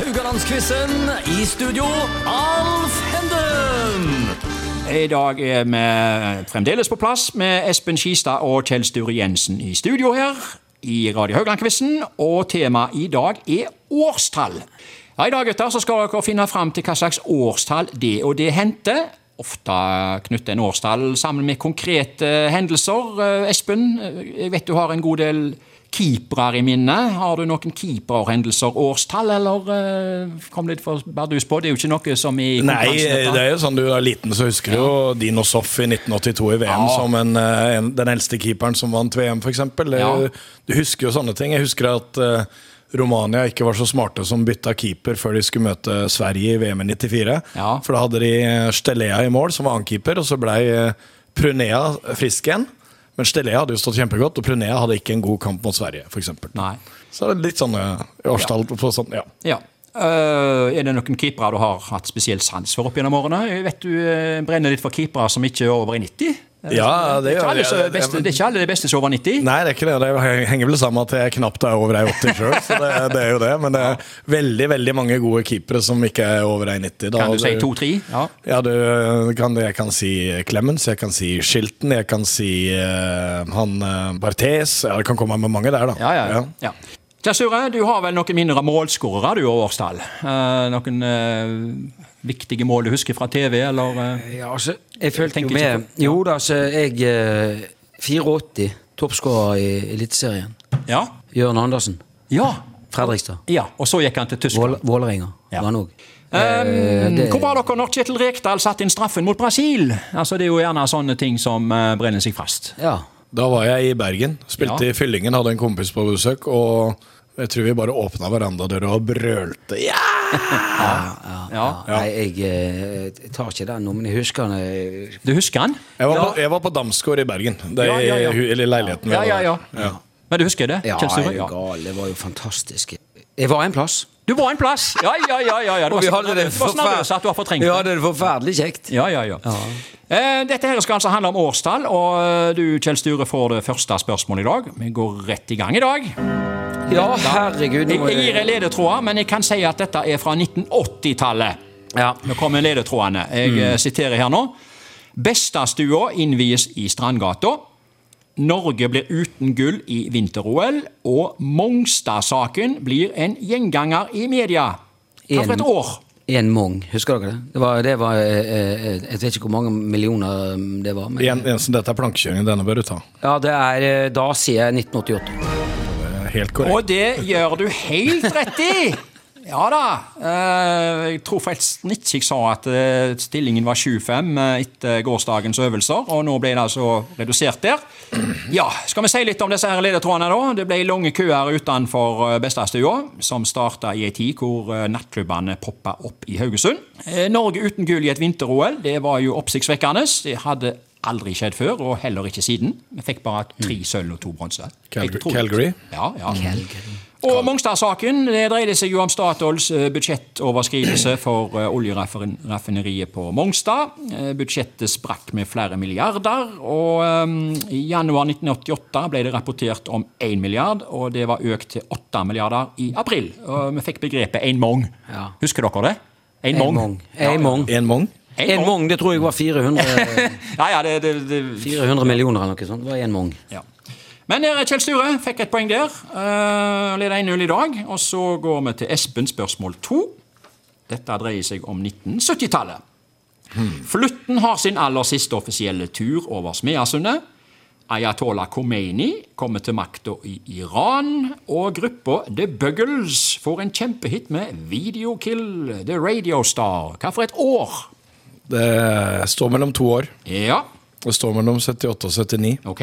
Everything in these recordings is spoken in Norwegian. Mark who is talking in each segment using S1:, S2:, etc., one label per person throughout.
S1: Rogalandsquizen. I studio, Alf Henden.
S2: I dag er vi fremdeles på plass med Espen Skistad og Kjell Sture Jensen i studio her i Radio Haugland-quizen. Og temaet i dag er årstall. Ja, I dag gutter, så skal dere finne fram til hva slags årstall det og det hendte. Ofte knytter en årstall sammen med konkrete hendelser. Eh, Espen, eh, jeg vet du har en god del keepere i minne. Har du noen keeperhendelser, årstall, eller eh, kom litt for bardus på? Det er jo ikke noe som i
S3: Nei,
S2: konkurransen, dette.
S3: det er jo sånn du er liten, så husker du jo Dino Soff i 1982 i VM
S2: Ja.
S3: som en, eh, en, den eldste keeperen som vant VM, f.eks.
S2: Ja.
S3: Du husker jo sånne ting. Jeg husker at eh, Romania ikke var så smarte som bytta keeper før de skulle møte Sverige i VM i 94.
S2: Ja.
S3: For da hadde de eh, Stelea i mål, som var annenkeeper, og så blei eh, Prunea frisk igjen. Men Stelea hadde jo stått kjempegodt, og Prunea hadde ikke en god kamp mot Sverige, f.eks.
S2: Nei.
S3: Så det er litt sånne årstall på sånn, ja.
S2: Ja. Eh, er det noen keepere du har hatt spesiell sans for opp gjennom årene? Jeg vet du eh, brenner litt for keepere som ikke er over i 90.
S3: Ja, det
S2: Det er
S3: gjør
S2: ikke alle,
S3: jeg.
S2: som er beste, det er ikke alle de beste som er over 90.
S3: Nei, det er ikke det. Det henger vel sammen med at jeg knapt er over ei 80 sjøl. Så det, det er jo det. Men det er veldig veldig mange gode keepere som ikke er over ei 90. Da.
S2: Kan du
S3: Og
S2: si
S3: det-
S2: to-tre? Ja.
S3: Ja, du kan, jeg kan si Clemens, jeg kan si Shilton, jeg kan si eh, han uh, Barthes. Ja, det kan komme med mange der, da.
S2: Ja, ja, ja. ja. Kjell Sure, du har vel noen mindre målskårere du, og årstall? Eh, noen eh, viktige mål du husker fra TV, eller eh,
S4: Ja, altså, jeg følte jo
S2: tenker ikke
S4: med Jo da, altså, jeg eh, 84, toppskårer i Eliteserien.
S2: Ja?
S4: Jørn Andersen.
S2: Ja.
S4: Fredrikstad.
S2: ja. Og så gikk han til Tyskland.
S4: Vål- Vålerenga
S2: Ja.
S4: var han òg.
S3: eh,
S2: Um, Hvor var dere når Kjetil Rekdal satte inn straffen mot Brasil? Altså, det er jo gjerne sånne ting som eh, brenner seg fast.
S4: Ja.
S3: Da var jeg i Bergen, spilte
S2: Ja.
S3: i Fyllingen, hadde en kompis på besøk. og... Jeg tror vi bare åpna verandadøra og brølte ja!
S2: Ja.
S4: Nei, jeg, eh, jeg tar ikke den nå, men jeg husker han eh,
S2: Du husker han?
S3: Jeg var, på, jeg var på Damsgård i Bergen, det,
S2: Ja, ja, ja.
S3: i hu- eller i leiligheten. vi
S2: Ja,
S3: hadde
S2: ja,
S3: der.
S2: ja. Men du husker det?
S4: Ja,
S2: Kjell Sture?
S4: er du gal? Det var jo fantastisk. Jeg var en plass.
S2: Du var en plass! Ja, ja, ja. ja, ja. Du var så nervøs- du var så nervøs at du har fortrengt
S4: vi
S2: det.
S4: hadde det forferdelig kjekt.
S2: Ja, ja, ja. Eh, Dette her skal altså handle om årstall, og eh, du, Kjell Sture, får det første spørsmålet i dag. Vi går rett i gang i dag.
S4: Ja, herregud.
S2: Jeg,
S4: Nå må
S2: jeg gir
S4: jeg,
S2: deg ledetråder, men jeg kan si at dette er fra 1980-tallet.
S4: ja. Mm.
S2: Nå kommer ledetrådene. Jeg eh, siterer her nå. Bestadstua innvies i Strandgata. Norge blir uten gull i vinter-OL. Og Mongstad-saken blir en gjenganger i media. Hva for
S4: En-
S2: et år?
S4: En Mong, husker dere det? Det var, det var eh, eh, Jeg vet ikke hvor mange millioner eh, det var. Men,
S3: Jen- Jensen, dette er plankekjøring. Denne bør du ta.
S4: ja, det er eh, Da sier jeg 1988.
S3: Helt korrekt.
S2: Og det gjør du helt rett i! Ja da. Eh, Jeg tror forresten ikke jeg sa at eh, stillingen var 7-5 etter gårsdagens øvelser, og nå ble det altså redusert der. Ja, skal vi si litt om disse her ledetrådene, da? Det ble lange køer utenfor eh, Bestadstua, som starta i ei tid hvor eh, nattklubbene poppa opp i Haugesund. Eh, Norge uten gull i et vinter-OL, det var jo oppsiktsvekkende. Det hadde aldri skjedd før, og heller ikke siden. Vi fikk bare tre sølv og to bronse.
S3: Calgary-
S2: Jeg tror-
S3: Calgary?
S2: ja, ja. Og Mongstad-saken det dreide seg jo om Statoils eh, budsjettoverskridelse for eh, oljeraffineriet på Mongstad. Eh, Budsjettet sprakk med flere milliarder, og eh, i januar 1988 ble det rapportert om 1 milliard, og det var økt til 8 milliarder i april. Og vi fikk begrepet en mong.
S4: Ja.
S2: Husker dere det? En
S4: En
S2: mong.
S4: Mong. En Mong.
S3: En Mong?
S2: En
S4: En
S2: Mong.
S4: Mong, det tror jeg var 400,
S2: Ja, ja, det, det, det
S4: 400 millioner eller noe sånt. Det var en Mong.
S2: Ja. Men der er Kjell Sture fikk et poeng der. Uh, leder 1-0 i dag. Og så går vi til Espen spørsmål 2. Dette dreier seg om 1970-tallet. Flutten har sin aller siste offisielle tur over Smeasundet. Ayatollah Khomeini kommer til makta i Iran. Og gruppa The Buggles får en kjempehit med 'Videokill The Radio Star'. Hva for et år?
S3: Det står mellom to år.
S2: Ja,
S3: Det står mellom 78 og 79.
S2: OK.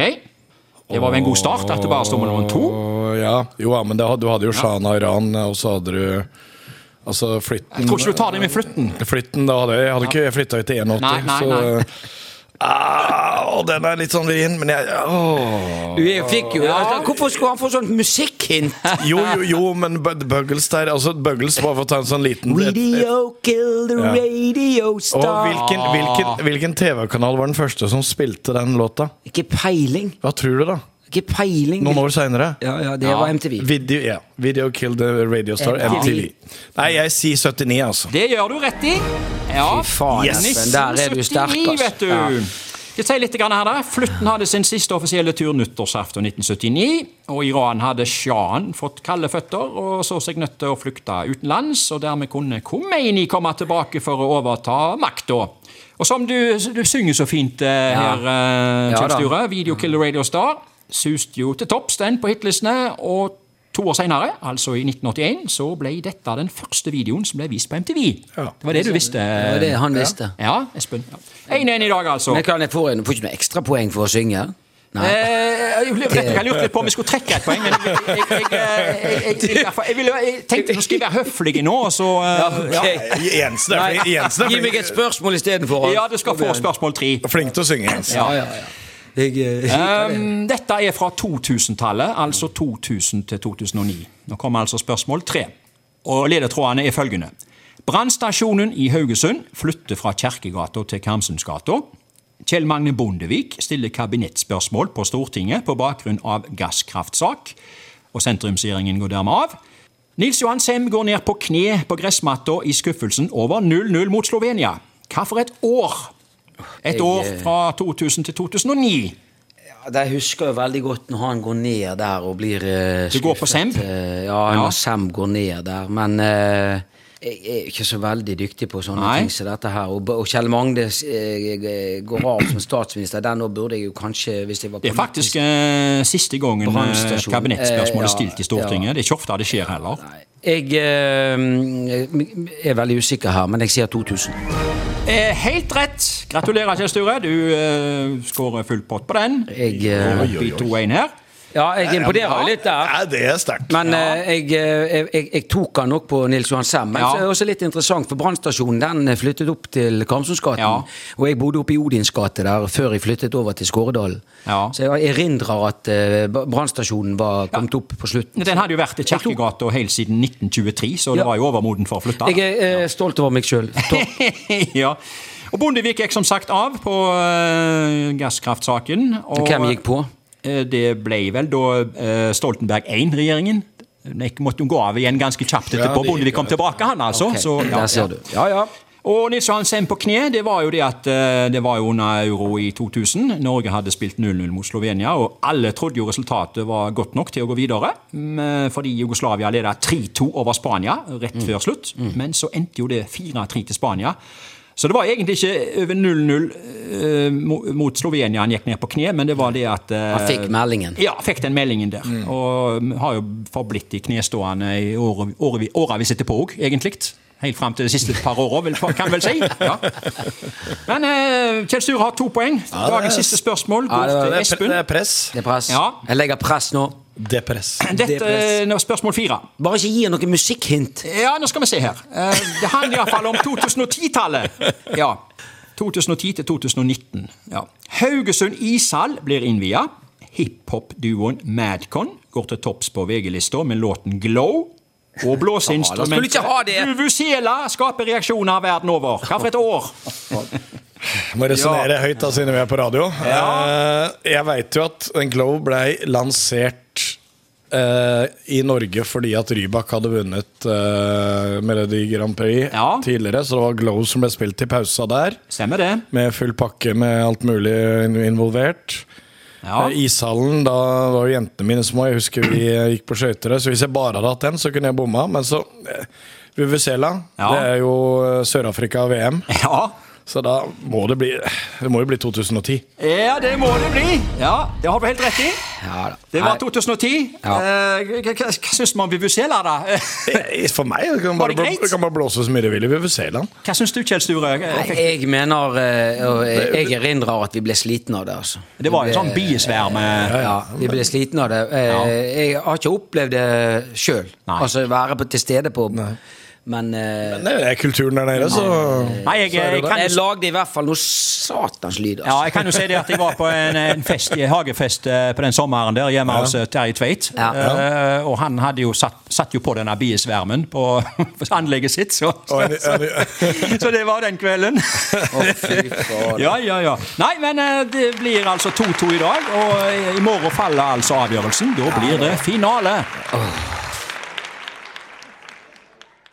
S2: Det var vel en god start at det bare står mellom to.
S3: Og ja, jo, ja, men det, had- du hadde jo Shana Iran, og så hadde du Altså flytten
S2: Jeg tror ikke du tar det med flutten.
S3: Flytten, da hadde jeg, jeg hadde ikke flytta ut til 81,
S2: Nei, nei, nei.
S3: så eh, ah, og Den er litt sånn vrien, men jeg åh.
S4: Du jeg fikk jo altså, Hvorfor skulle han få sånt musikkhint?
S3: Jo, jo, jo, men Bud Buggles der altså Buggles bare for å ta en sånn liten et- et-
S4: kill the radio
S3: Og hvilken, Ah. hvilken, hvilken TV-kanal var den første som spilte den låta?
S4: Ikke peiling.
S3: Hva tror du, da?
S4: Ikke peiling.
S3: Noen år seinere.
S4: Ja, ja, det var MTV.
S3: Video, ja. Video Kill the Radio Star,
S4: MTV.
S3: MTV. Nei, jeg sier 79, altså.
S2: Det gjør du rett i. Ja.
S4: Fy faen,
S3: Yes.
S4: Espen. Der er du sterk, ass.
S2: vet du. Jeg sier litt grann her da. Flutten hadde sin siste offisielle tur nyttårsaften 1979, og Iran hadde sjahen fått kalde føtter og så seg nødt til å flykte utenlands, og dermed kunne Khomeini komme tilbake for å overta makta. Og som du, du synger så fint eh,
S4: Ja.
S2: her, eh,
S4: Ja
S2: Kjell
S4: da.
S2: Sture, Video Killer Radio Star suste jo til topps den på hitlistene, og to år senere, altså i 1981, så ble dette den første videoen som ble vist på MTV. Det var det du visste.
S4: Det var det han visste.
S2: Ja, Espen. Ja. 1-1 i dag, altså.
S4: Men kan jeg få en, får ikke noe ekstrapoeng for å synge? Nei.
S2: Eh, jeg lurte jeg lurte litt på om jeg skulle trekke et poeng, men jeg, jeg, jeg, jeg, jeg, jeg, jeg, ville- jeg tenkte nå skal jeg være høflig nå, så eh, ja.
S3: Jensen er flink, Jensen er
S4: Gi meg
S3: flink,
S4: et spørsmål istedenfor.
S2: ja, du skal få spørsmål tre.
S3: flink til å synge, Jensen.
S4: Ja, ja, ja. Jeg, eh,
S2: Um, dette er fra 2000-tallet, altså 2000 til 2009. Nå kommer altså spørsmål tre. Og ledetrådene er følgende. Brannstasjonen i Haugesund flytter fra Kjerkegata til Karmsundsgata. Kjell Magne Bondevik stiller kabinettspørsmål på Stortinget på bakgrunn av gasskraftsak, og sentrumsregjeringen går dermed av. Nils Johan Sem går ned på kne på gressmatta i skuffelsen over 0-0 mot Slovenia. Hva for et år? Et
S4: Jeg,
S2: år
S4: eh,
S2: fra 2000 til 2009.
S4: Ja, Jeg husker jo veldig godt når han går ned der og blir eh,
S2: Du går på Sem?
S4: skuffet. Eh, ja, når
S2: Ja.
S4: Sem går ned der. Men eh, jeg er ikke så veldig dyktig på sånne
S2: Nei.
S4: ting som dette her. Og, og Kjell Magne eh, går av som statsminister. Den nå burde jeg jo kanskje, hvis jeg var
S2: Det er faktisk eh, siste gangen eh,
S4: Brannstasjon.
S2: kabinettspørsmålet
S4: Eh, ja,
S2: er stilt i Stortinget.
S4: ja.
S2: Det er ikke ofte det skjer heller.
S4: Nei. Jeg eh, er veldig usikker her, men jeg sier 2000.
S2: Eh, helt rett! Gratulerer, Kjell Sture. Du eh, skårer full pott på den.
S4: Jeg, eh,
S2: Opp i 2-1 her.
S4: ja, jeg imponerer jo litt der.
S3: Ja, det er sterkt.
S4: Men eh, jeg, eh, jeg, jeg, jeg tok han nok på Nils Johan Sem. Men
S2: Ja.
S4: så er det også litt interessant, for brannstasjonen den eh, flyttet opp til Karmsundsgaten.
S2: Ja.
S4: Og jeg bodde oppe i Odins gate der før jeg flyttet over til Skåredalen.
S2: Ja.
S4: Så jeg erindrer at eh, brannstasjonen var kommet opp på slutten.
S2: Den hadde jo vært i Kjerkegata helt siden 1923, så det
S4: Ja.
S2: var jo overmoden for å flytte.
S4: Jeg er eh, stolt over meg sjøl.
S2: ja. Og Bondevik gikk som sagt av på eh, gasskraftsaken. Og,
S4: Hvem gikk på?
S2: Eh, Det ble vel da eh, Stoltenberg I-regjeringen. Den gikk- måtte jo gå av igjen ganske kjapt
S3: det
S2: etterpå.
S3: gikk
S2: Bondevik kom tilbake, han altså. Så, ja,
S4: Der ser du. Ja, ja.
S2: Og Nils Johan Sem på kne, det var jo det at eh, det var jo under euro i 2000. Norge hadde spilt 0-0 mot Slovenia, og alle trodde jo resultatet var godt nok til å gå videre. mm, Fordi Jugoslavia ledet 3-2 over Spania rett
S4: Mm.
S2: før slutt. Men så endte jo det 4-3 til Spania. Så det var egentlig ikke over 0-0 eh, mo- mot Slovenia han gikk ned på kne, men det var det at eh,
S4: Han fikk meldingen.
S2: ja, fikk den meldingen der.
S3: Mm.
S2: Og har jo forblitt i knestående i åre- årevi- årevis etterpå òg, egentlig. Helt fram til de siste par åra, vil- kan vel si. Ja. Men eh, Kjell Sture har to poeng. Dagens siste spørsmål går
S4: det var-
S2: til
S3: det, er pre,
S2: Espen.
S3: det er press.
S4: Det er press.
S2: Ja.
S4: Jeg legger press nå.
S3: Det er press.
S2: Dette
S4: press.
S2: er nå spørsmål fire.
S4: Bare ikke gi han noe musikkhint.
S2: Ja, nå skal vi se her. Eh, Det handler iallfall om 2010-tallet. Ja. 2010 til 2019. Ja. Haugesund ishall blir innvia. Hiphop-duoen Madcon går til topps på VG-lista med låten 'Glow'. Og
S4: Ja, da skulle du
S2: blåseinstrumentet
S4: ikke ha det.
S2: Vuvuzela skaper reaksjoner verden over. Hva for et år?
S3: Må resonnere høyt, da, siden vi er på radio. Eh, jeg veit jo at den Glow ble lansert eh, i Norge fordi at Rybak hadde vunnet eh, Melodi Grand Prix
S2: Ja.
S3: tidligere, så det var Glow som ble spilt i pausa der.
S2: Stemmer det?
S3: Med full pakke med alt mulig involvert.
S2: Ja.
S3: Eh, Ishallen, da var jo jentene mine små. Jeg husker vi eh, gikk på skøyter der. Så hvis jeg bare hadde hatt den, så kunne jeg bomma. Men så eh, Vuvuzela,
S2: Ja.
S3: det er jo eh, Sør-Afrika-VM.
S2: ja.
S3: Så da må det bli Det må jo bli 2010.
S2: Ja, det må det bli. Ja, Det har du helt rett i.
S4: Ja da.
S2: Det var
S4: Nei.
S2: 2010.
S4: Ja.
S2: Eh, Hva, hva, hva syns man om Vuvuzela, da?
S3: Eh, For meg det kan
S2: Var
S3: bare,
S2: det greit?
S3: det kan bare blåse så mye det vil i Vuvuzelaen.
S2: Hva syns du, Kjell Sture? Fikk-
S4: Jeg mener, eh, og jeg, jeg erindrer at vi ble slitne av det, altså.
S2: Det var jo
S4: Vi
S2: en sånn
S4: ble-
S2: biesverm. eh,
S4: Ja, vi ble slitne av det. Eh, Jeg har ikke opplevd det sjøl.
S2: Nei.
S4: Altså være på, til stede på Men, eh,
S3: Nei, det er kulturen der nede, så
S2: Nei, jeg, jeg kan
S4: jeg lagde i hvert fall noe satans lyd.
S2: Ja,
S4: Altså.
S2: jeg kan jo si det at jeg var på en, en fest, en hagefest eh, på den sommeren der hjemme hos eh, Terje Tveit.
S4: Ja.
S2: Eh, og han hadde jo satt, satt jo på denne biesvermen på, på anlegget sitt, så,
S3: Og en- en-
S2: så det var den kvelden.
S4: Å, fy faen.
S2: Ja, ja, ja. Nei, men eh, det blir altså 2-2 i dag, og eh, i morgen faller altså avgjørelsen. Da blir det finale.